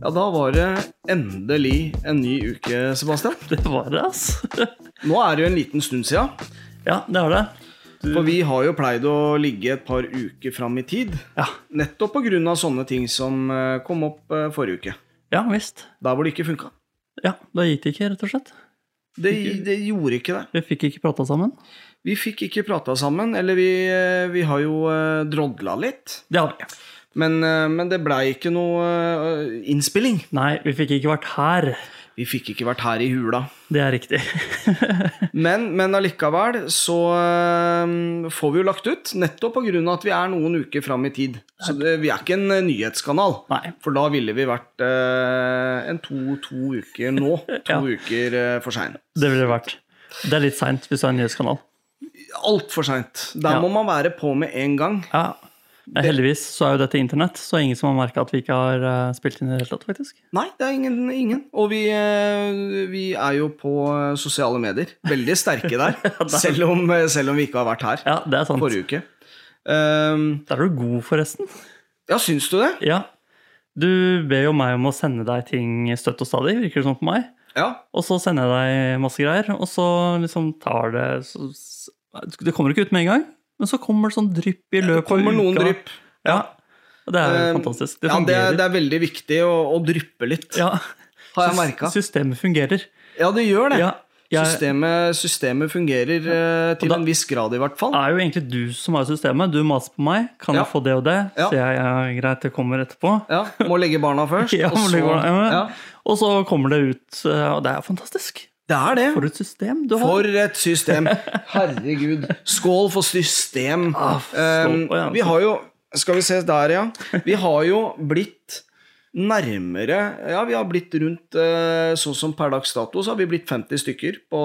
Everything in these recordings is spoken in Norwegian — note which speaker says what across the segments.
Speaker 1: Ja, da var det endelig en ny uke, Sebastian.
Speaker 2: Det var det, altså.
Speaker 1: Nå er det jo en liten stund sia,
Speaker 2: Ja, det var det.
Speaker 1: for vi har jo pleid å ligge et par uker fram i tid.
Speaker 2: Ja,
Speaker 1: Nettopp pga. sånne ting som eh, kom opp eh, forrige uke.
Speaker 2: ja visst.
Speaker 1: Der hvor det ikke funka.
Speaker 2: Ja, da gikk det ikke, rett og slett.
Speaker 1: Det, det gjorde ikke det.
Speaker 2: Vi fikk ikke prata sammen.
Speaker 1: Vi fikk ikke prata sammen, eller vi, eh, vi har jo eh, drodla litt.
Speaker 2: Det har vi.
Speaker 1: Men, eh, men det blei ikke noe eh, innspilling.
Speaker 2: Nei, vi fikk ikke vært her.
Speaker 1: Vi fikk ikke vært her i hula.
Speaker 2: Det er riktig.
Speaker 1: Men, men allikevel så eh, får vi jo lagt ut, nettopp pga. at vi er noen uker fram i tid. Så det, vi er ikke en eh, nyhetskanal.
Speaker 2: Nei.
Speaker 1: For da ville vi vært eh, en to, to uker nå. To
Speaker 2: Ja.
Speaker 1: uker eh, for sein.
Speaker 2: Det ville det vært. Det er litt seint hvis du er en nyhetskanal.
Speaker 1: Altfor seint. Der
Speaker 2: Ja.
Speaker 1: må man være på med en gang.
Speaker 2: Ja. Men heldigvis så er jo dette internett, så ingen som har merka at vi ikke har eh, spilt inn i det hele tatt, faktisk.
Speaker 1: Nei, det er ingen. ingen. Og vi, eh, vi er jo på eh, sosiale medier. Veldig sterke der. selv, om, eh, selv om vi ikke har vært her
Speaker 2: Ja, det er sant.
Speaker 1: forrige uke. Um,
Speaker 2: Der er du god, forresten.
Speaker 1: ja, syns du det?
Speaker 2: Ja. Du ber jo meg om å sende deg ting støtt og stadig, virker det som på meg.
Speaker 1: Ja.
Speaker 2: Og så sender jeg deg masse greier, og så liksom tar det så, Det kommer ikke ut med en gang, men så kommer det sånn drypp i løpet av uka.
Speaker 1: Kommer noen drypp.
Speaker 2: Ja. Og det er
Speaker 1: Eh,
Speaker 2: jo fantastisk. Det
Speaker 1: ja, det, er,
Speaker 2: fungerer.
Speaker 1: det er veldig viktig å, å dryppe litt,
Speaker 2: Ja,
Speaker 1: har jeg merka.
Speaker 2: Systemet fungerer.
Speaker 1: Ja, det gjør det.
Speaker 2: Ja, jeg
Speaker 1: Systemet, systemet fungerer eh, til
Speaker 2: Og da-
Speaker 1: en viss grad, i hvert fall.
Speaker 2: er jo egentlig du som er systemet. Du maser på meg. Kan
Speaker 1: Ja.
Speaker 2: jeg få det og det?
Speaker 1: Ja.
Speaker 2: Så jeg er greit, det kommer etterpå.
Speaker 1: Ja, Må legge barna først.
Speaker 2: Ja,
Speaker 1: og
Speaker 2: må
Speaker 1: så-
Speaker 2: legge barna- ja, men-
Speaker 1: ja.
Speaker 2: Og så kommer det ut, eh, og det er jo fantastisk.
Speaker 1: Det er det.
Speaker 2: For et system du har.
Speaker 1: For et system. Herregud. Skål for system.
Speaker 2: Ah, skål.
Speaker 1: Um,
Speaker 2: Å, ja.
Speaker 1: vi har jo Skal vi se der, ja. Vi har jo blitt nærmere Ja, vi har blitt rundt eh, Sånn som per dags dato, så har vi blitt 50 stykker på,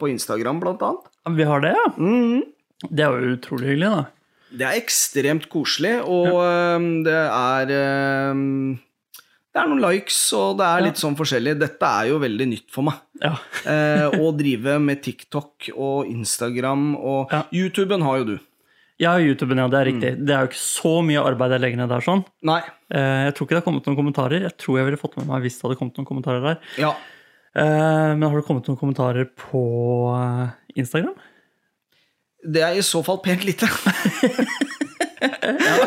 Speaker 1: på Instagram, blant annet.
Speaker 2: Vi har det, ja.
Speaker 1: Mm.
Speaker 2: Det er jo utrolig hyggelig, da.
Speaker 1: Det er ekstremt koselig, og øhm, det er øhm, Det er noen likes, og det er litt sånn forskjellig. Dette er jo veldig nytt for meg.
Speaker 2: Ja.
Speaker 1: Eh, å drive med TikTok og Instagram og
Speaker 2: Ja.
Speaker 1: YouTuben har jo du.
Speaker 2: Jeg har YouTuben, ja. Det er
Speaker 1: Mm.
Speaker 2: riktig. Det er jo ikke så mye arbeid jeg legger ned der. sånn.
Speaker 1: Nei.
Speaker 2: Eh, Jeg tror ikke det har kommet noen kommentarer. Jeg tror jeg ville fått med meg hvis det hadde kommet noen kommentarer der.
Speaker 1: Ja.
Speaker 2: Eh, Men har det kommet noen kommentarer på eh, Instagram?
Speaker 1: Det er i så fall pent lite. Ja.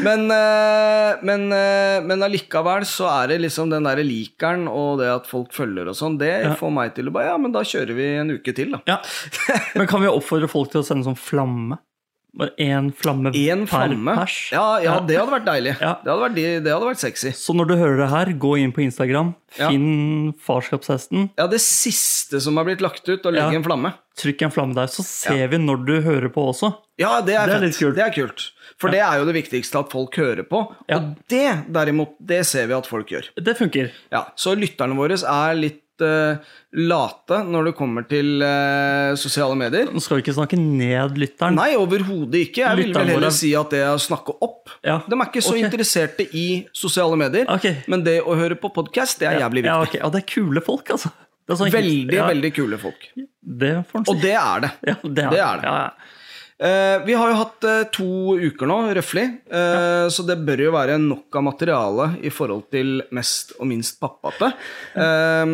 Speaker 1: men, eh, men, eh, men allikevel så er det liksom den derre likeren og det at folk følger og sånn, det får meg til å bare Ja, men da kjører vi en uke til, da.
Speaker 2: Ja. Men kan vi oppfordre folk til å sende sånn flamme? Bare én flamme
Speaker 1: Én
Speaker 2: per
Speaker 1: flamme.
Speaker 2: pers?
Speaker 1: Ja, ja, det hadde vært deilig.
Speaker 2: Ja.
Speaker 1: Det, hadde vært, de- det hadde vært sexy.
Speaker 2: Så når du hører det her, gå inn på Instagram,
Speaker 1: Ja.
Speaker 2: finn farskapshesten,
Speaker 1: Ja, det siste som har blitt lagt ut, å legge
Speaker 2: Ja.
Speaker 1: en flamme.
Speaker 2: trykk en flamme der, så ser vi når du hører på også.
Speaker 1: Ja, det er,
Speaker 2: Det er
Speaker 1: fett.
Speaker 2: litt kult.
Speaker 1: Det er kult. For det er jo det viktigste at folk hører på.
Speaker 2: Ja.
Speaker 1: Og det, derimot, det ser vi at folk gjør.
Speaker 2: Det funker.
Speaker 1: Ja, Så lytterne våre er litt eh, late når det kommer til eh, sosiale medier.
Speaker 2: Nå skal vi ikke snakke ned lytteren.
Speaker 1: Nei, overhodet ikke. Jeg vil
Speaker 2: Lytterne
Speaker 1: vel
Speaker 2: våre-
Speaker 1: heller si at det er å snakke opp.
Speaker 2: Ja.
Speaker 1: De er ikke så
Speaker 2: Ok.
Speaker 1: interesserte i sosiale medier,
Speaker 2: Ok.
Speaker 1: men det å høre på podkast, det er jævlig
Speaker 2: Ja,
Speaker 1: viktig.
Speaker 2: ok. ja, det er kule folk, altså. Det er så enkelt.
Speaker 1: Veldig,
Speaker 2: ja,
Speaker 1: veldig kule folk.
Speaker 2: Det får en si.
Speaker 1: Og det er det.
Speaker 2: Ja, det er
Speaker 1: det
Speaker 2: det.
Speaker 1: er det.
Speaker 2: Ja, ja.
Speaker 1: Eh, vi har jo hatt eh, to uker nå, røftlig, eh, så det bør jo være nok av materiale i forhold til mest og minst pappate. Eh,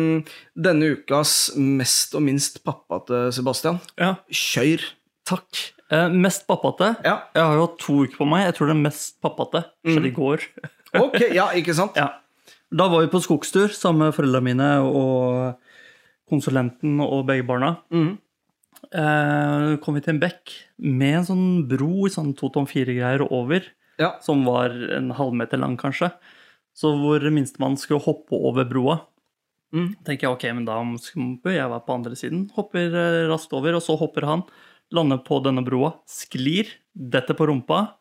Speaker 1: denne ukas mest og minst pappate, Sebastian,
Speaker 2: Ja,
Speaker 1: kjør.
Speaker 2: takk. Eh, mest pappate.
Speaker 1: Ja, Mm.
Speaker 2: Jeg har jo hatt to uker på meg. Jeg tror det mest pappate skjedde i går.
Speaker 1: ok, ja, ikke sant?
Speaker 2: Ja. Da var vi på skogstur sammen med foreldrene mine og konsulenten og begge barna.
Speaker 1: Mhm.
Speaker 2: Eh, kom vi til en bekk med en sånn bro i sånn 2,4-greier over,
Speaker 1: Ja.
Speaker 2: som var en halvmeter lang, kanskje. Så hvor minstemann skulle hoppe over broa.
Speaker 1: Mhm.
Speaker 2: tenker jeg ok, men da skal- bør jeg være på andre siden. Hopper eh, raskt over, og så hopper han. Lander på denne broa, sklir, detter på rumpa.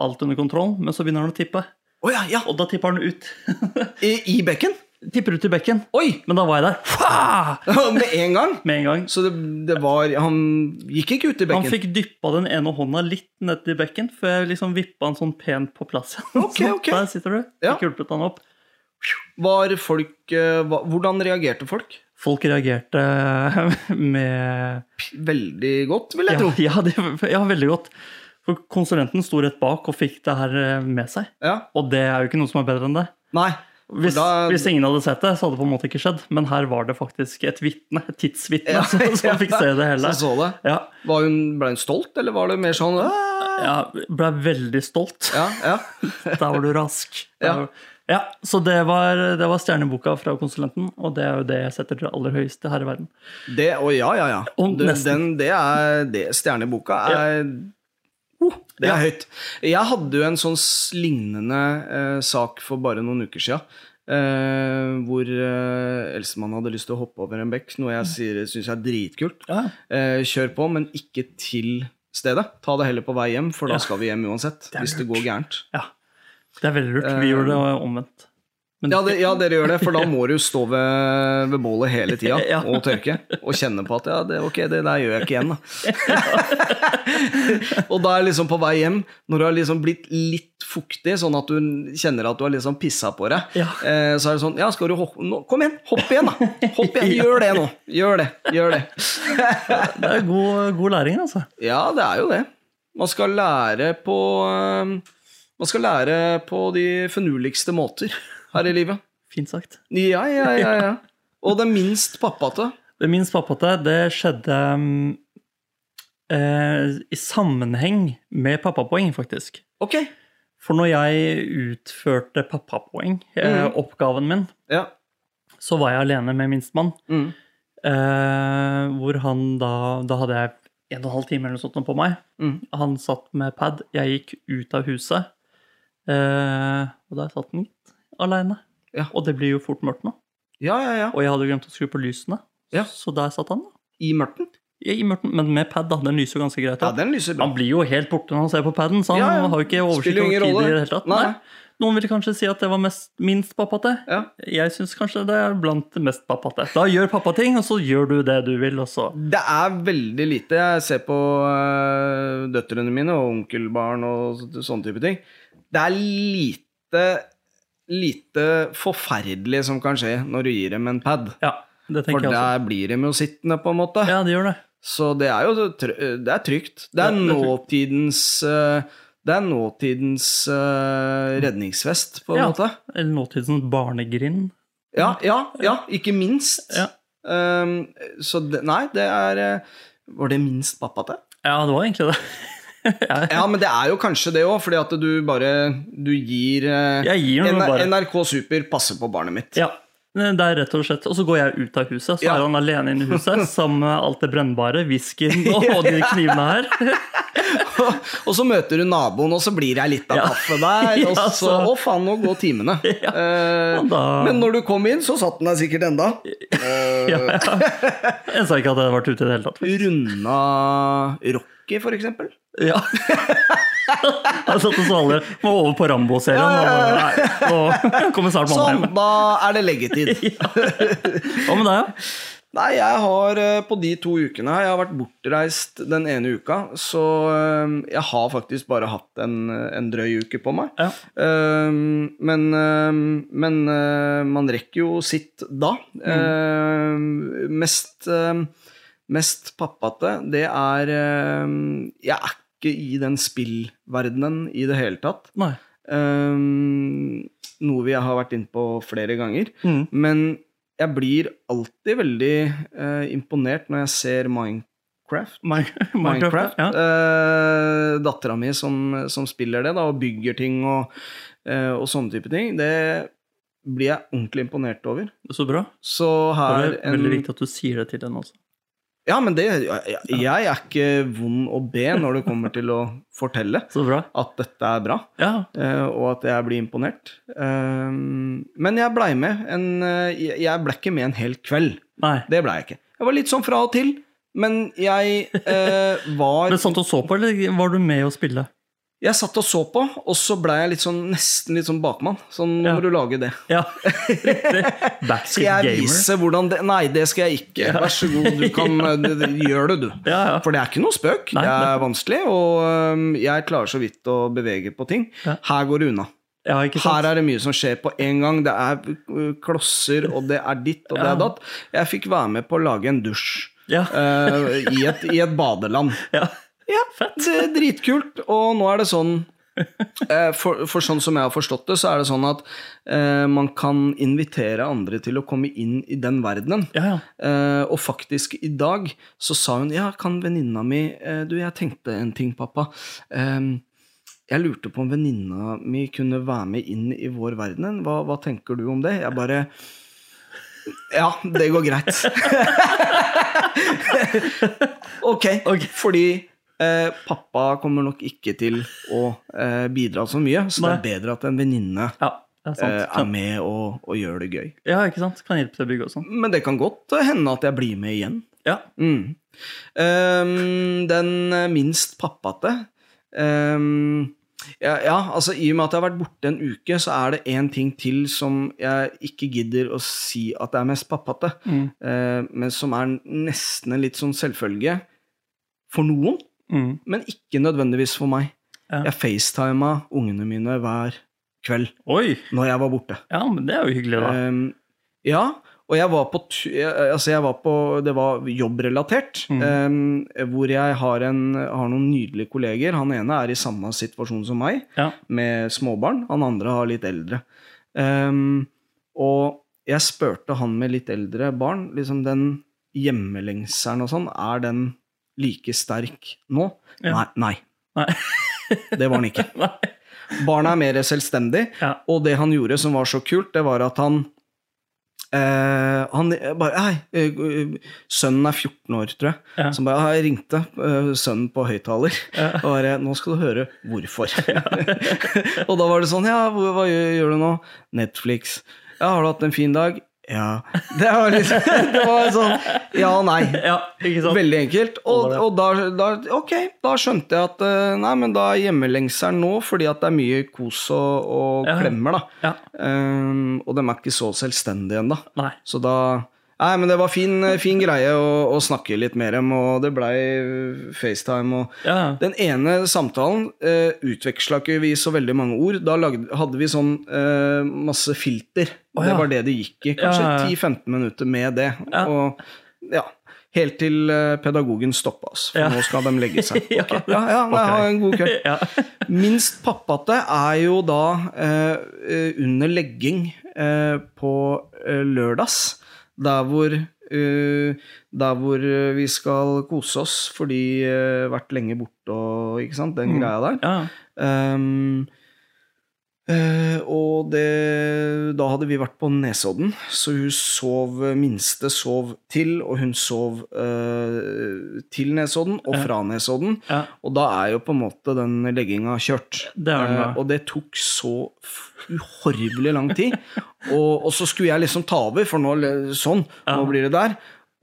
Speaker 2: Alt under kontroll, men så begynner han å tippe.
Speaker 1: Å ja, ja,
Speaker 2: Og da tipper han ut.
Speaker 1: i, i bekken?
Speaker 2: tipper ut i bekken.
Speaker 1: Oi!
Speaker 2: Men da var jeg der Fua!
Speaker 1: Med en gang?
Speaker 2: med en gang.
Speaker 1: Så det, det var Han gikk ikke ut i
Speaker 2: Han
Speaker 1: bekken?
Speaker 2: fikk dyppa den ene hånda litt ned i bekken, før jeg liksom vippa han sånn pent på plass igjen.
Speaker 1: Ok,
Speaker 2: Sånn,
Speaker 1: ok.
Speaker 2: Der sitter du.
Speaker 1: Ja.
Speaker 2: Fikk hjulpet han opp.
Speaker 1: Var folk eh, hva- Hvordan reagerte folk?
Speaker 2: Folk reagerte med
Speaker 1: Veldig godt, vil jeg
Speaker 2: ja,
Speaker 1: tro.
Speaker 2: ja, det, ja, veldig godt. For konsulenten sto rett bak og fikk det her eh, med seg.
Speaker 1: Ja.
Speaker 2: Og det er jo ikke noe som er bedre enn det.
Speaker 1: Nei.
Speaker 2: Hvis,
Speaker 1: Da-
Speaker 2: hvis ingen hadde sett det, så hadde det på en måte ikke skjedd. Men her var det faktisk et vitne, et tidsvitne,
Speaker 1: Ja,
Speaker 2: som, som fikk se det hele.
Speaker 1: Så så det.
Speaker 2: Ja,
Speaker 1: Var hun, ble hun stolt, eller var det mer sånn
Speaker 2: Ah.
Speaker 1: «Åh!»
Speaker 2: jeg ble veldig stolt.
Speaker 1: Ja, ja.
Speaker 2: Der var du rask. Der
Speaker 1: Ja.
Speaker 2: var- ja, Så det var, det var stjerneboka fra konsulenten, og det er jo det jeg setter til det aller høyeste her i verden.
Speaker 1: Det, og ja, ja, ja.
Speaker 2: Og
Speaker 1: Du,
Speaker 2: nesten.
Speaker 1: den, det er det Stjerneboka er Oh, Det er høyt. Jeg hadde jo en sånn s- lignende eh, sak for bare noen uker sia. Eh, hvor eh, Elsemann hadde lyst til å hoppe over en bekk, noe jeg syns er dritkult.
Speaker 2: Ja.
Speaker 1: Eh, kjør på, men ikke til stedet. Ta det heller på vei hjem, for
Speaker 2: Ja.
Speaker 1: da skal vi hjem uansett.
Speaker 2: Det er
Speaker 1: hvis det
Speaker 2: lurt.
Speaker 1: går gærent.
Speaker 2: Det er veldig lurt.
Speaker 1: Eh,
Speaker 2: Vi gjorde det omvendt. Men-
Speaker 1: Ja, det, ja, dere gjør det, for da må du stå ved, ved bålet hele tida
Speaker 2: Ja.
Speaker 1: og tørke. Og kjenne på at ja, det, ok, det der gjør jeg ikke igjen, da. og da er jeg liksom på vei hjem, når du har liksom blitt litt fuktig, sånn at du kjenner at du har liksom pissa på deg,
Speaker 2: Ja.
Speaker 1: eh, så er det sånn Ja, skal du hoppe nå, Kom igjen, hopp igjen, da! Hopp igjen, Gjør det nå! Gjør det. Gjør det.
Speaker 2: Det er god, god læring, altså.
Speaker 1: Ja, det er jo det. Man skal lære på eh, Man skal lære på de finurligste måter her i livet.
Speaker 2: Fint sagt.
Speaker 1: Ja, ja, ja, ja. Og det minst pappate.
Speaker 2: Det minst pappate, det skjedde mm, eh, i sammenheng med pappapoeng, faktisk.
Speaker 1: Ok.
Speaker 2: For når jeg utførte pappapoeng, eh,
Speaker 1: Mhm.
Speaker 2: oppgaven min,
Speaker 1: Ja.
Speaker 2: så var jeg alene med minstemann.
Speaker 1: Mm.
Speaker 2: Eh, hvor han da Da hadde jeg en og en halv time eller noe sånt nå på meg.
Speaker 1: Mm.
Speaker 2: Han satt med pad. Jeg gikk ut av huset, eh, og der satt han gitt. Aleine.
Speaker 1: Ja.
Speaker 2: Og det blir jo fort mørkt nå.
Speaker 1: ja, ja, ja.
Speaker 2: Og jeg hadde glemt å skru på lysene,
Speaker 1: Ja.
Speaker 2: så der satt han. da.
Speaker 1: I mørten.
Speaker 2: I i mørket, men med pad, da. Den lyser jo ganske greit.
Speaker 1: Ja,
Speaker 2: opp.
Speaker 1: den lyser bra.
Speaker 2: Han blir jo helt borte når han ser på paden, så han
Speaker 1: Ja, ja.
Speaker 2: har jo ikke oversikt
Speaker 1: Spiller jo
Speaker 2: over
Speaker 1: ingen
Speaker 2: tider i
Speaker 1: rolle.
Speaker 2: det hele tatt.
Speaker 1: Nei.
Speaker 2: Nei. Noen vil kanskje si at det var mest, minst pappate.
Speaker 1: Ja.
Speaker 2: Jeg syns kanskje det er blant det mest pappate. Da gjør pappa ting, og så gjør du det du vil, og så
Speaker 1: Det er veldig lite. Jeg ser på eh, døtrene mine og onkelbarn og så- sånne type ting. Det er lite lite forferdelig som kan skje når du gir dem en pad.
Speaker 2: Ja, det
Speaker 1: For
Speaker 2: tenker jeg også.
Speaker 1: der blir de jo sittende, på en måte.
Speaker 2: Ja, det gjør det.
Speaker 1: Så det er jo så tr- det er trygt. Det er
Speaker 2: Ja, det er
Speaker 1: nåtidens eh, det er nåtidens eh, redningsvest, på en
Speaker 2: Mm. Ja.
Speaker 1: måte.
Speaker 2: Eller nåtidens barnegrind.
Speaker 1: Ja, ja, ja, ikke minst.
Speaker 2: Ja.
Speaker 1: Um, så det, nei, det er eh, Var det minst pappate?
Speaker 2: Ja, det var egentlig det. jeg,
Speaker 1: Ja, men det er jo kanskje det òg, fordi at du bare Du gir eh,
Speaker 2: jeg gir noe
Speaker 1: N-
Speaker 2: bare.
Speaker 1: NRK Super passer på barnet mitt.
Speaker 2: Ja, det er rett og slett. Og så går jeg ut av huset, så
Speaker 1: Ja.
Speaker 2: er han alene inne i huset sammen med alt det brennbare, whiskyen og de knivene her.
Speaker 1: og så møter du naboen, og så blir det ei lita
Speaker 2: Ja.
Speaker 1: kaffe der. Og
Speaker 2: Ja,
Speaker 1: så
Speaker 2: så-
Speaker 1: Å, faen, nå går timene.
Speaker 2: Ja.
Speaker 1: Eh,
Speaker 2: Og da-
Speaker 1: men når du kom inn, så satt den der sikkert enda. Eh,
Speaker 2: Ja, ja. Jeg sa ikke at jeg hadde vært ute i det hele tatt.
Speaker 1: Runda Rocky, for eksempel.
Speaker 2: Ja. Jeg satt og så alle var over på Rambo-serien. og bare, Nei, nå kommer snart mamma
Speaker 1: Sånn,
Speaker 2: hjem.
Speaker 1: da er det leggetid. Sånn.
Speaker 2: Hva med deg,
Speaker 1: Nei, jeg har eh, på de to ukene her Jeg har vært bortreist den ene uka, så eh, jeg har faktisk bare hatt en, en drøy uke på meg.
Speaker 2: da? Ja.
Speaker 1: Eh, Men, eh, men eh, man rekker jo sitt da. Eh, Mest, eh, mest pappate, det er eh, Jeg er ikke i den spillverdenen i det hele tatt.
Speaker 2: Nei.
Speaker 1: Eh, Noe vi har vært inne på flere ganger.
Speaker 2: Mm.
Speaker 1: Men jeg blir alltid veldig eh, imponert når jeg ser Minecraft.
Speaker 2: Min- Minecraft, ja.
Speaker 1: Eh, Dattera mi som, som spiller det, da, og bygger ting og, eh, og sånne type ting, det blir jeg ordentlig imponert over.
Speaker 2: Så bra.
Speaker 1: Så
Speaker 2: Det
Speaker 1: her
Speaker 2: er veldig viktig at du sier det til henne også.
Speaker 1: Ja, men det jeg, jeg er ikke vond å be når det kommer til å fortelle
Speaker 2: Så bra.
Speaker 1: at dette er bra.
Speaker 2: Ja.
Speaker 1: Eh, og at jeg blir imponert. Ehm, men jeg blei med en eh, Jeg jeg ble ikke med en hel kveld.
Speaker 2: Nei.
Speaker 1: Det blei jeg ikke. Jeg var litt sånn fra og til, men jeg eh, var
Speaker 2: Men satt og så på, eller var du med å spille?
Speaker 1: Jeg satt og så på, og så blei jeg litt sånn, nesten litt sånn bakmann. Sånn, nå
Speaker 2: Ja.
Speaker 1: må du lage det.
Speaker 2: Ja. Riktig.
Speaker 1: Skal
Speaker 2: Backstreet
Speaker 1: jeg
Speaker 2: gamer.
Speaker 1: vise hvordan det Nei, det skal jeg ikke. Vær så god, du kan d- d- Gjør det, du.
Speaker 2: Ja, ja.
Speaker 1: For det er ikke noe spøk.
Speaker 2: Nei,
Speaker 1: det er vanskelig, og øhm, jeg klarer så vidt å bevege på ting.
Speaker 2: Ja.
Speaker 1: Her går det unna.
Speaker 2: ja, ikke sant?
Speaker 1: Her er det mye som skjer på en gang. Det er øh, klosser, og det er ditt, og det
Speaker 2: Ja.
Speaker 1: er datt. Jeg fikk være med på å lage en dusj
Speaker 2: Ja.
Speaker 1: Eh, øh, i, et, i et badeland.
Speaker 2: Ja.
Speaker 1: Ja, det er dritkult. Og nå er det sånn Eh, For, for sånn som jeg har forstått det, så er det sånn at eh, man kan invitere andre til å komme inn i den verdenen.
Speaker 2: Ja, ja.
Speaker 1: Eh, og faktisk i dag så sa hun ja, kan venninna mi eh, Du, jeg tenkte en ting, pappa. Ehm, jeg lurte på om venninna mi kunne være med inn i vår verden. Hva, hva tenker du om det? Jeg bare Ja, det går greit. ok.
Speaker 2: Ok.
Speaker 1: Fordi eh, pappa kommer nok ikke til å eh, bidra så mye, så det er bedre at en venninne
Speaker 2: Ja, det er sant.
Speaker 1: eh, er med og, og gjør det gøy.
Speaker 2: Ja, ikke sant? Kan hjelpe til å bygge og sånn.
Speaker 1: Men det kan godt hende at jeg blir med igjen.
Speaker 2: Ja.
Speaker 1: Mm. Ehm, den minst pappate Ehm, ja, ja, altså I og med at jeg har vært borte en uke, så er det én ting til som jeg ikke gidder å si at det er mest pappate,
Speaker 2: Mm.
Speaker 1: eh, men som er nesten en litt sånn selvfølge for noen,
Speaker 2: Mm.
Speaker 1: men ikke nødvendigvis for meg.
Speaker 2: Ja.
Speaker 1: Jeg facetima ungene mine hver kveld
Speaker 2: Oi!
Speaker 1: når jeg var borte.
Speaker 2: Ja, men det er jo hyggelig, da.
Speaker 1: Ehm, ja, og jeg var på, tu- eh, altså jeg var på Det var jobbrelatert.
Speaker 2: Mm.
Speaker 1: ehm, hvor jeg har, en, har noen nydelige kolleger. Han ene er i samme situasjon som meg,
Speaker 2: Ja.
Speaker 1: med småbarn. Han andre har litt eldre. Ehm, og jeg spurte han med litt eldre barn liksom den hjemmelengselen og sånn, er den like sterk nå?
Speaker 2: Ja.
Speaker 1: Nei. nei.
Speaker 2: Nei.
Speaker 1: det var den ikke.
Speaker 2: Nei.
Speaker 1: Barna er mer selvstendig,
Speaker 2: Ja.
Speaker 1: og det han gjorde som var så kult, det var at han eh, han bare Hei, eh, sønnen er 14 år, tror jeg.
Speaker 2: Ja.
Speaker 1: Så han bare «Ja, Jeg ringte eh, sønnen på høyttaler
Speaker 2: Ja.
Speaker 1: og bare Nå skal du høre hvorfor. og da var det sånn Ja, hva, hva gjør, gjør du nå? Netflix. Ja, har du hatt en fin dag? Ja. Det var litt Det var sånn ja og nei.
Speaker 2: ja, ikke sant?
Speaker 1: Veldig enkelt. Og,
Speaker 2: Holder det.
Speaker 1: og da, da, ok, da skjønte jeg at eh, nei, men da er hjemmelengselen nå fordi at det er mye kos og, og
Speaker 2: Ja.
Speaker 1: klemmer, da.
Speaker 2: Ja.
Speaker 1: Ehm, og de er ikke så selvstendige ennå.
Speaker 2: Nei.
Speaker 1: Så da Nei, men det var fin, eh, fin greie å, å snakke litt mer om, og det blei FaceTime og
Speaker 2: Ja.
Speaker 1: den ene samtalen uh, utveksla ikke vi så veldig mange ord. Da lagde, hadde vi sånn eh, masse filter.
Speaker 2: Å,
Speaker 1: Det
Speaker 2: ja.
Speaker 1: var det det gikk i. Kanskje
Speaker 2: Ja, ja, ja.
Speaker 1: 10-15 minutter med det.
Speaker 2: Ja.
Speaker 1: Og ja, Helt til eh, pedagogen stoppa oss, for
Speaker 2: Ja.
Speaker 1: nå skal de legge seg.
Speaker 2: Ja.
Speaker 1: Ok, Ja, ja, nei, ha en god kveld.
Speaker 2: Ja.
Speaker 1: Minst pappate er jo da eh, eh, under legging eh, på eh, lørdags, der hvor eh, der hvor eh, vi skal kose oss fordi eh, vært lenge borte og ikke sant, den greia der.
Speaker 2: Ja.
Speaker 1: Ehm, eh, og det Da hadde vi vært på Nesodden, så hun sov minste sov til, og hun sov eh, til Nesodden og fra Nesodden.
Speaker 2: ja.
Speaker 1: Og da er jo på en måte den legginga kjørt.
Speaker 2: Det er den da.
Speaker 1: Eh, og det tok så uhorvelig lang tid. og, og så skulle jeg liksom ta over, for nå le- sånn, nå blir det der.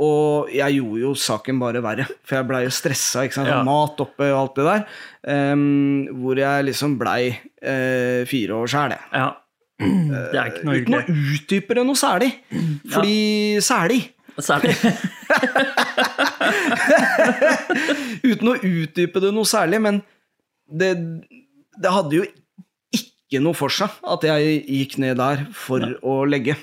Speaker 1: Og jeg gjorde jo saken bare verre, for jeg blei jo stressa. Ikke sant?
Speaker 2: Ja.
Speaker 1: Mat oppe og alt det der. Em, hvor jeg liksom blei eh, fire år sjæl, jeg.
Speaker 2: ja.
Speaker 1: Eh,
Speaker 2: Det er ikke
Speaker 1: Uten
Speaker 2: noe
Speaker 1: å
Speaker 2: hyggelig.
Speaker 1: utdype det noe særlig. Fordi Særlig!
Speaker 2: Særlig.
Speaker 1: Uten å utdype det noe særlig, men det, det hadde jo ikke noe for seg at jeg gikk ned der for å legge.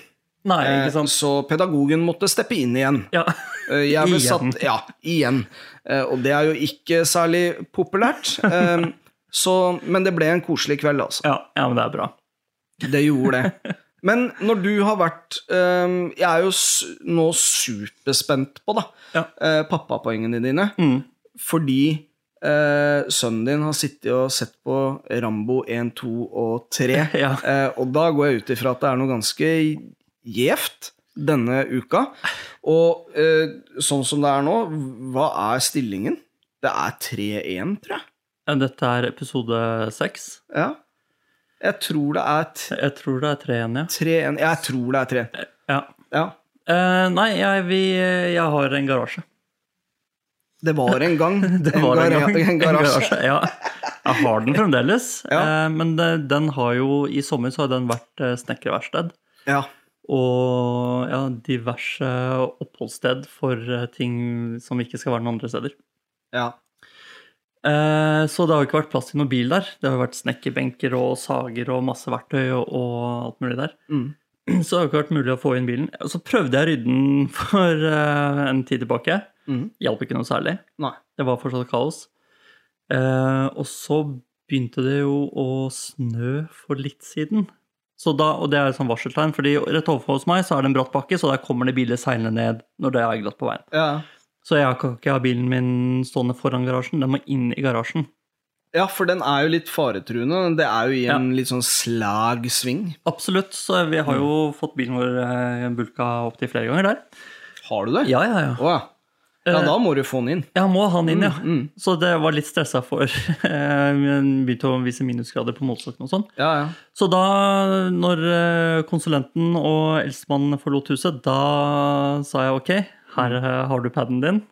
Speaker 2: Nei,
Speaker 1: Eh,
Speaker 2: ikke sant?
Speaker 1: Så pedagogen måtte steppe inn igjen.
Speaker 2: Ja.
Speaker 1: Eh, Jeg ble
Speaker 2: Igjen.
Speaker 1: satt Ja, igjen. Eh, Og det er jo ikke særlig populært. Eh, Så, men det ble en koselig kveld, altså.
Speaker 2: Ja. ja, men det er bra.
Speaker 1: Det gjorde det. Men når du har vært øhm, Jeg er jo s- nå superspent på da,
Speaker 2: Ja.
Speaker 1: eh, pappapoengene dine.
Speaker 2: Mm.
Speaker 1: Fordi eh, sønnen din har sittet og sett på Rambo 1, 2 og 3.
Speaker 2: Ja.
Speaker 1: eh, og da går jeg ut ifra at det er noe ganske gjevt denne uka. Og eh, sånn som det er nå, hva er stillingen? Det er 3-1, tror jeg.
Speaker 2: Dette er episode seks.
Speaker 1: Ja. Jeg tror det er t-
Speaker 2: Jeg tror det er tre igjen, ja.
Speaker 1: 3-1. Jeg tror det er 3.
Speaker 2: ja.
Speaker 1: Ja.
Speaker 2: Eh, nei, jeg, vi, jeg har en garasje.
Speaker 1: Det var en gang
Speaker 2: Det
Speaker 1: en,
Speaker 2: var en,
Speaker 1: gara-
Speaker 2: gang
Speaker 1: en garasje.
Speaker 2: Ja. Jeg har den fremdeles,
Speaker 1: Ja.
Speaker 2: eh, men det- den har jo I sommer så har den vært eh, snekkerverksted
Speaker 1: Ja.
Speaker 2: og ja, diverse oppholdssted for eh, ting som ikke skal være noen andre steder.
Speaker 1: ja.
Speaker 2: Eh, Så det har jo ikke vært plass til noen bil der. Det har jo vært snekkerbenker og sager og masse verktøy og, og alt mulig der.
Speaker 1: Mm.
Speaker 2: Så det har jo ikke vært mulig å få inn bilen. Og Så prøvde jeg å rydde den for eh, en tid tilbake.
Speaker 1: Mhm.
Speaker 2: Hjalp ikke noe særlig.
Speaker 1: Nei.
Speaker 2: Det var fortsatt kaos. Eh, og så begynte det jo å snø for litt siden. Så da, og det er et sånn varseltegn, fordi rett overfor hos meg så er det en bratt bakke, så der kommer det biler seilende ned når det er glatt på veien.
Speaker 1: Ja,
Speaker 2: Så jeg kan ikke ha bilen min stående foran garasjen, den må inn i garasjen.
Speaker 1: ja for den er jo litt faretruende. Det er jo i
Speaker 2: Ja.
Speaker 1: en litt sånn slag sving.
Speaker 2: Absolutt, så vi har jo fått bilen vår eh, bulka opp til flere ganger der.
Speaker 1: Har du det?
Speaker 2: Ja, ja, ja.
Speaker 1: Å, ja. ja, da må du få den inn.
Speaker 2: Jeg må ha han inn, ja.
Speaker 1: Mm, mm.
Speaker 2: Så det var litt stressa for. eh, men Begynte å vise minusgrader på motorsykkelen og sånn.
Speaker 1: Ja, ja.
Speaker 2: Så da, når eh, konsulenten og eldstemannen forlot huset, da sa jeg ok, her eh, har du paden din,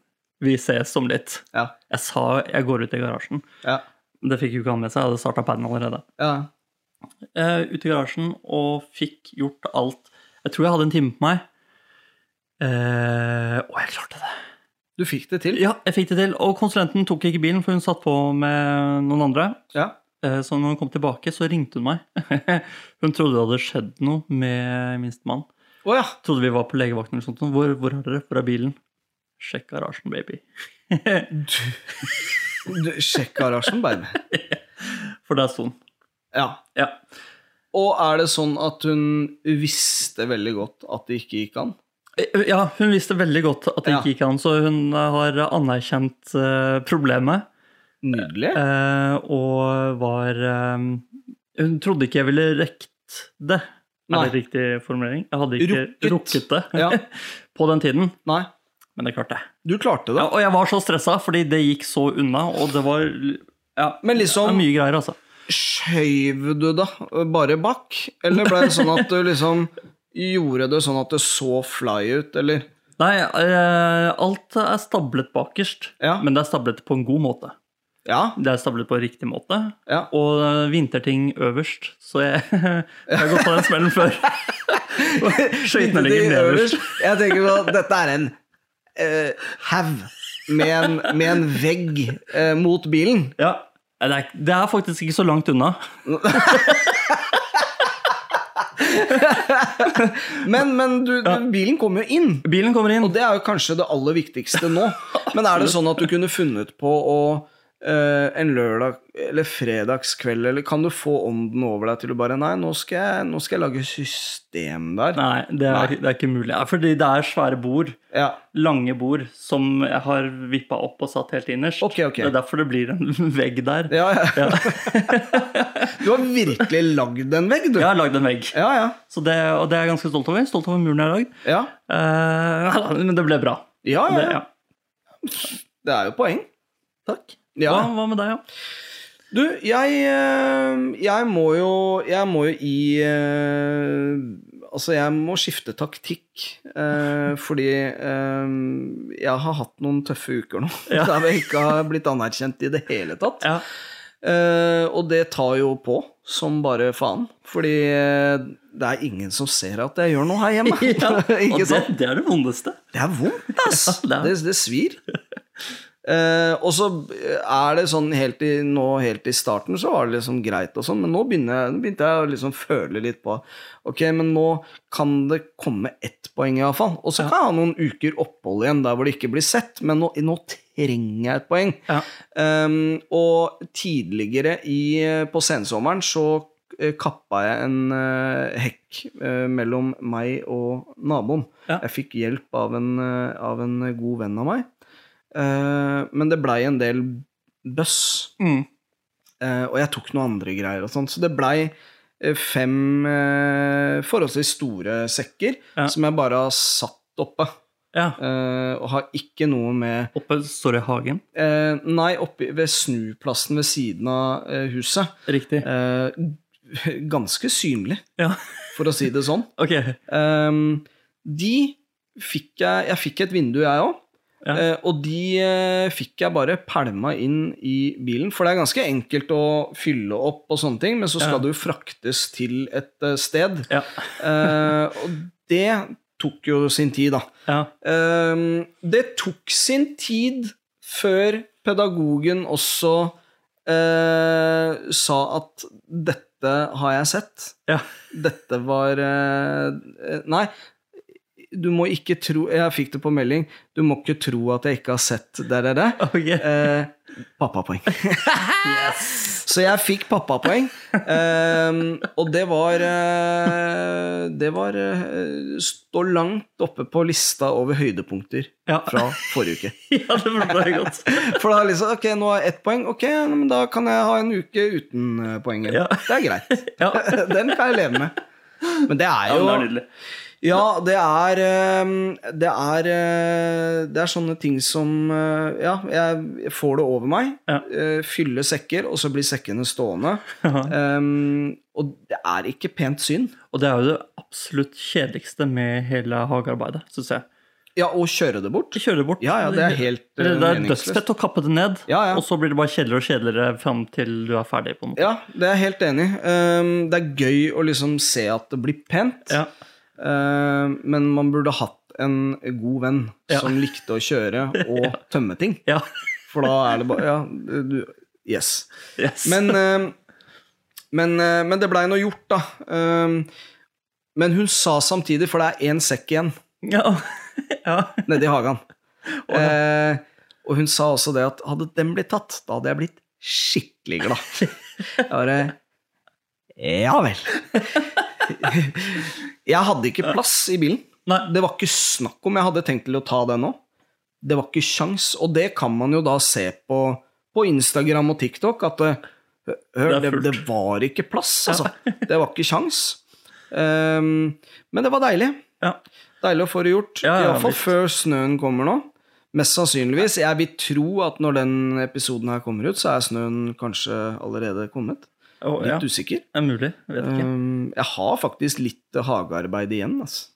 Speaker 2: vi ses om litt.
Speaker 1: Ja,
Speaker 2: Jeg sa jeg går ut i garasjen.
Speaker 1: ja,
Speaker 2: Det fikk jo ikke han med seg, jeg hadde starta paden allerede.
Speaker 1: ja.
Speaker 2: Eh, ut i garasjen og fikk gjort alt. Jeg tror jeg hadde en time på meg. Eh, og jeg klarte det.
Speaker 1: Du fikk det til.
Speaker 2: Ja, jeg fikk det til. Og konsulenten tok ikke bilen, for hun satt på med noen andre.
Speaker 1: Ja.
Speaker 2: Eh, Så når hun kom tilbake, så ringte hun meg. Hun trodde det hadde skjedd noe med minstemann.
Speaker 1: Å ja.
Speaker 2: Trodde vi var på legevakten eller sånt. Hvor, hvor er dere? Hvor er bilen? Sjekk garasjen, baby.
Speaker 1: Du, sjekk garasjen, baby.
Speaker 2: For der sto den.
Speaker 1: Ja.
Speaker 2: Ja.
Speaker 1: Og er det sånn at hun visste veldig godt at det ikke gikk an?
Speaker 2: Eh, ja, hun visste veldig godt at det
Speaker 1: Ja.
Speaker 2: ikke gikk an, så hun har anerkjent eh, problemet.
Speaker 1: Nydelig.
Speaker 2: eh, og var eh, Hun trodde ikke jeg ville rekt det.
Speaker 1: Nei.
Speaker 2: Er det riktig formulering? Jeg hadde ikke
Speaker 1: Rukket.
Speaker 2: rukket det
Speaker 1: Ja.
Speaker 2: på den tiden,
Speaker 1: Nei,
Speaker 2: men det klarte jeg.
Speaker 1: du klarte det.
Speaker 2: Ja, og jeg var så stressa, fordi det gikk så unna, og det var ja,
Speaker 1: Men
Speaker 2: det er
Speaker 1: liksom,
Speaker 2: mye greier, altså.
Speaker 1: skjøv du da bare bak? Eller ble det sånn at du liksom gjorde det sånn at det så fly ut, eller?
Speaker 2: Nei, eh, alt er stablet bakerst,
Speaker 1: Ja.
Speaker 2: men det er stablet på en god måte.
Speaker 1: Ja.
Speaker 2: Det er stablet på riktig måte,
Speaker 1: Ja.
Speaker 2: og eh, vinterting øverst, så jeg, jeg har gått på den smellen før. Skøytene ligger
Speaker 1: De
Speaker 2: nederst.
Speaker 1: Jeg tenker på at dette er en eh, haug med, en, med en vegg eh, mot bilen.
Speaker 2: Ja. Nei, Det er, det er faktisk ikke så langt unna.
Speaker 1: Men, men du, bilen kom jo inn.
Speaker 2: Bilen kommer inn.
Speaker 1: Og det er jo kanskje det aller viktigste nå. Men er det sånn at du kunne funnet på å eh, en lørdag eller fredagskveld, eller kan du få ånden over deg til å bare Nei, nå skal jeg, nå skal jeg lage system der.
Speaker 2: Nei, det
Speaker 1: Nei.
Speaker 2: er, det er ikke mulig. Ja, Fordi det er svære bord.
Speaker 1: Ja,
Speaker 2: lange bord som jeg har vippa opp og satt helt innerst.
Speaker 1: Ok, ok.
Speaker 2: Det er derfor det blir en vegg der.
Speaker 1: ja, ja.
Speaker 2: Ja.
Speaker 1: Du har virkelig lagd en vegg, du.
Speaker 2: Jeg
Speaker 1: Ja,
Speaker 2: har lagd en vegg,
Speaker 1: ja.
Speaker 2: så det, og det er jeg ganske stolt over. Stolt over muren jeg har lagd.
Speaker 1: Ja,
Speaker 2: Eh, men det ble bra.
Speaker 1: ja.
Speaker 2: Det,
Speaker 1: ja,
Speaker 2: ja.
Speaker 1: Det er jo poeng.
Speaker 2: Takk.
Speaker 1: Ja.
Speaker 2: Hva, hva med deg, ja?
Speaker 1: Du, jeg, eh, jeg må jo Jeg må jo i eh, Altså, jeg må skifte taktikk. eh, Fordi eh, jeg har hatt noen tøffe uker nå
Speaker 2: Ja.
Speaker 1: der jeg ikke har blitt anerkjent i det hele tatt.
Speaker 2: ja?
Speaker 1: Eh, Og det tar jo på som bare faen. Fordi eh, det er ingen som ser at jeg gjør noe her hjemme.
Speaker 2: og
Speaker 1: ikke
Speaker 2: det,
Speaker 1: sant?
Speaker 2: det er det vondeste.
Speaker 1: Det er vondt, ass!
Speaker 2: Ja, det
Speaker 1: det, det svir. Eh, og så er det sånn helt i, nå helt i starten så var det liksom greit og sånn, men nå begynner jeg, nå begynte jeg å liksom føle litt på Ok, men nå kan det komme ett poeng iallfall. Og så
Speaker 2: Ja.
Speaker 1: kan jeg ha noen uker opphold igjen der hvor det ikke blir sett, men nå, nå trenger jeg et poeng.
Speaker 2: Ja.
Speaker 1: Ehm, og tidligere i, på sensommeren så eh, kappa jeg en eh, hekk eh, mellom meg og naboen.
Speaker 2: Ja.
Speaker 1: Jeg fikk hjelp av en, eh, av en god venn av meg. Eh, men det blei en del bøss.
Speaker 2: Mm.
Speaker 1: Eh, og jeg tok noen andre greier og sånn. Så det blei eh, fem eh, forholdsvis store sekker
Speaker 2: Ja.
Speaker 1: som jeg bare har satt oppe.
Speaker 2: ja.
Speaker 1: eh, og har ikke noe med
Speaker 2: Oppe står det Hagen.
Speaker 1: eh, Nei, oppe ved snuplassen ved siden av eh, huset.
Speaker 2: Riktig.
Speaker 1: Eh, ganske synlig,
Speaker 2: Ja.
Speaker 1: for å si det sånn.
Speaker 2: Ok.
Speaker 1: Ehm, de fikk jeg Jeg fikk et vindu, jeg òg.
Speaker 2: Ja.
Speaker 1: Eh, og de eh, fikk jeg bare pælma inn i bilen. For det er ganske enkelt å fylle opp og sånne ting, men så skal
Speaker 2: Ja.
Speaker 1: du fraktes til et eh, sted.
Speaker 2: Ja.
Speaker 1: Eh, og det tok jo sin tid, da.
Speaker 2: ja.
Speaker 1: Ehm, det tok sin tid før pedagogen også eh, sa at 'dette har jeg sett'.
Speaker 2: Ja.
Speaker 1: Dette var eh, Nei, du må ikke tro Jeg fikk det på melding. Du må ikke tro at jeg ikke har sett det, det, det.
Speaker 2: Ok.
Speaker 1: Eh, pappapoeng. Så jeg fikk pappapoeng. Ehm, og det var eh, Det var eh, Stå langt oppe på lista over høydepunkter
Speaker 2: Ja.
Speaker 1: fra forrige uke.
Speaker 2: ja, det forstår jeg godt.
Speaker 1: For da er det liksom Ok, nå er ett poeng. Ok, ja, men da kan jeg ha en uke uten eh, poenget.
Speaker 2: Ja.
Speaker 1: Det er greit.
Speaker 2: Ja,
Speaker 1: Den kan jeg leve med. Men det er
Speaker 2: ja men
Speaker 1: jo
Speaker 2: det er nydelig.
Speaker 1: ja, det er eh, Det er, eh, det er sånne ting som eh, Ja, jeg får det over meg.
Speaker 2: Ja.
Speaker 1: eh, Fyller sekker, og så blir sekkene stående.
Speaker 2: Ja.
Speaker 1: Em, og det er ikke pent syn.
Speaker 2: Og det er jo det absolutt kjedeligste med hele hagearbeidet, syns jeg.
Speaker 1: Ja, og kjøre det bort.
Speaker 2: Kjøre det bort.
Speaker 1: Ja, ja, det er helt eh,
Speaker 2: det er
Speaker 1: meningsløst.
Speaker 2: dødsfett å kappe det ned,
Speaker 1: Ja, ja.
Speaker 2: og så blir det bare kjedeligere og kjedeligere fram til du er ferdig. på en måte.
Speaker 1: Ja, det er jeg helt enig. i. Em, det er gøy å liksom se at det blir pent,
Speaker 2: Ja.
Speaker 1: Em, men man burde hatt en god venn
Speaker 2: Ja.
Speaker 1: som likte å kjøre og tømme ting.
Speaker 2: Ja.
Speaker 1: For da er det bare Ja, du Yes.
Speaker 2: Yes.
Speaker 1: Men, eh, men, eh, men det blei nå gjort, da. Eh, Men hun sa samtidig, for det er én sekk igjen
Speaker 2: ja. ja.
Speaker 1: nede i hagen Eh, Og hun sa også det at hadde den blitt tatt, da hadde jeg blitt skikkelig glad. Jeg bare Ja vel. Jeg hadde ikke plass i bilen.
Speaker 2: Nei.
Speaker 1: Det var ikke snakk om jeg hadde tenkt til å ta den nå. Det var ikke sjans, og det kan man jo da se på, på Instagram og TikTok, at det, hør,
Speaker 2: Det
Speaker 1: det,
Speaker 2: er fullt.
Speaker 1: det var ikke plass, altså. Det var ikke sjans. Ehm, men det var deilig.
Speaker 2: Ja.
Speaker 1: Deilig å få det gjort.
Speaker 2: Ja, ja,
Speaker 1: Iallfall
Speaker 2: visst.
Speaker 1: før snøen kommer nå. Mest sannsynligvis. Jeg vil tro at når den episoden her kommer ut, så er snøen kanskje allerede kommet.
Speaker 2: Å, ja.
Speaker 1: Litt usikker.
Speaker 2: Det er mulig. Jeg Vet ikke.
Speaker 1: Um, jeg har faktisk litt hagearbeid igjen. Altså.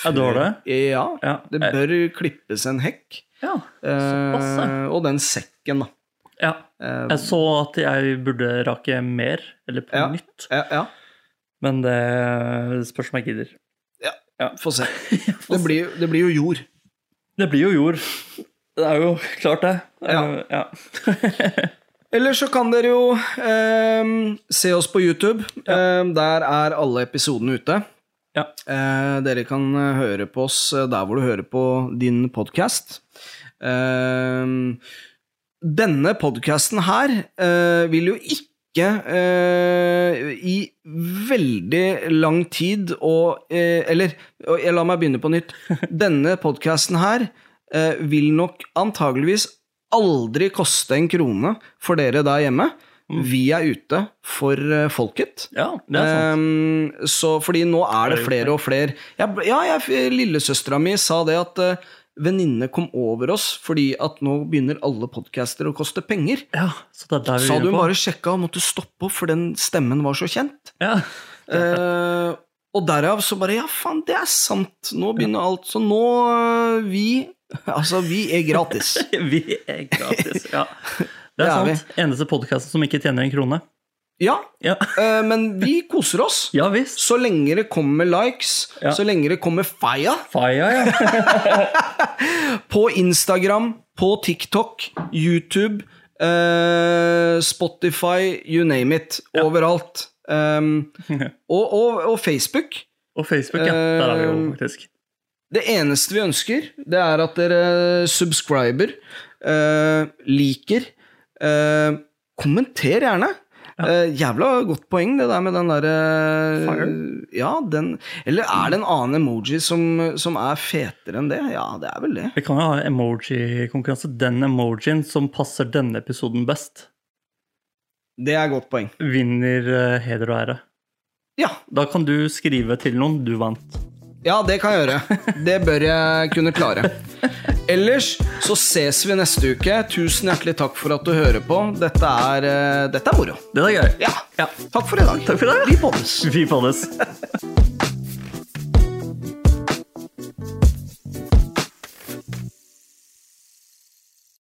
Speaker 2: Ja, du har det?
Speaker 1: Ja.
Speaker 2: Ja.
Speaker 1: Eh, Det bør klippes en hekk.
Speaker 2: ja. Eh. Såpass, ja.
Speaker 1: Eh, og den sekken, da.
Speaker 2: ja.
Speaker 1: Eh,
Speaker 2: Jeg så at jeg burde rake mer, eller på
Speaker 1: Ja.
Speaker 2: nytt,
Speaker 1: ja, ja,
Speaker 2: men det spørs om jeg gidder.
Speaker 1: få se.
Speaker 2: Jeg får
Speaker 1: Det blir, det blir jo jord.
Speaker 2: Det blir jo jord. Det er jo klart, det.
Speaker 1: Ja.
Speaker 2: Eh, ja.
Speaker 1: Eller så kan dere jo ehm, se oss på YouTube. Ehm, der er alle episodene ute.
Speaker 2: Ja.
Speaker 1: Eh, dere kan eh, høre på oss eh, der hvor du hører på din podkast. denne podkasten her eh, vil jo ikke eh, i veldig lang tid og eh, Eller, og jeg la meg begynne på nytt. Denne podkasten her eh, vil nok antageligvis aldri koste en krone for dere der hjemme. Vi er ute for eh, folket.
Speaker 2: ja, det er sant.
Speaker 1: Ehm, så fordi nå er det
Speaker 2: Er det
Speaker 1: flere og flere jeg, Ja, jeg, lillesøstera mi sa det at uh, venninne kom over oss fordi at nå begynner alle podcaster å koste penger.
Speaker 2: Ja, så det er der vi
Speaker 1: Sa
Speaker 2: er
Speaker 1: du
Speaker 2: på.
Speaker 1: bare sjekka og måtte stoppe opp, for den stemmen var så kjent.
Speaker 2: Ja.
Speaker 1: Eh, og derav så bare Ja, faen, det er sant. Nå begynner alt. Så nå eh, Vi Altså, vi er gratis.
Speaker 2: Vi er gratis, ja. Det
Speaker 1: Det
Speaker 2: er
Speaker 1: er
Speaker 2: sant. Eneste podkasten som ikke tjener en krone.
Speaker 1: Ja,
Speaker 2: Ja,
Speaker 1: eh, men vi koser oss.
Speaker 2: ja visst.
Speaker 1: Så lenge det kommer likes,
Speaker 2: Ja.
Speaker 1: så lenge det kommer fire
Speaker 2: Faya, ja.
Speaker 1: på Instagram, på TikTok, YouTube, eh, Spotify, you name it. Overalt. Um, og, og, og Facebook.
Speaker 2: Og Facebook, ja. Der er vi jo
Speaker 1: Eh.
Speaker 2: faktisk.
Speaker 1: Det eneste vi ønsker, det er at dere subscriber, eh, liker, eh, kommenter gjerne. Eh, jævla godt poeng, det der med den derre
Speaker 2: Fire.
Speaker 1: Ja, den Eller er det en annen emoji som, som er fetere enn det? Ja, det er vel det.
Speaker 2: Vi kan jo ha emoji-konkurranse. Den emojien som passer denne episoden best,
Speaker 1: Det er godt poeng.
Speaker 2: vinner eh, heder og ære.
Speaker 1: Ja,
Speaker 2: Da kan du skrive til noen. Du vant.
Speaker 1: ja det kan jeg gjøre. Det bør jeg kunne klare. Ellers så ses vi neste uke. Tusen hjertelig takk for at du hører på. Dette er, eh, dette er moro.
Speaker 2: Det er gøy.
Speaker 1: Ja.
Speaker 2: Ja.
Speaker 1: Takk for i dag.
Speaker 2: Takk for i dag.
Speaker 1: Vi poddes.
Speaker 2: Vi foldes.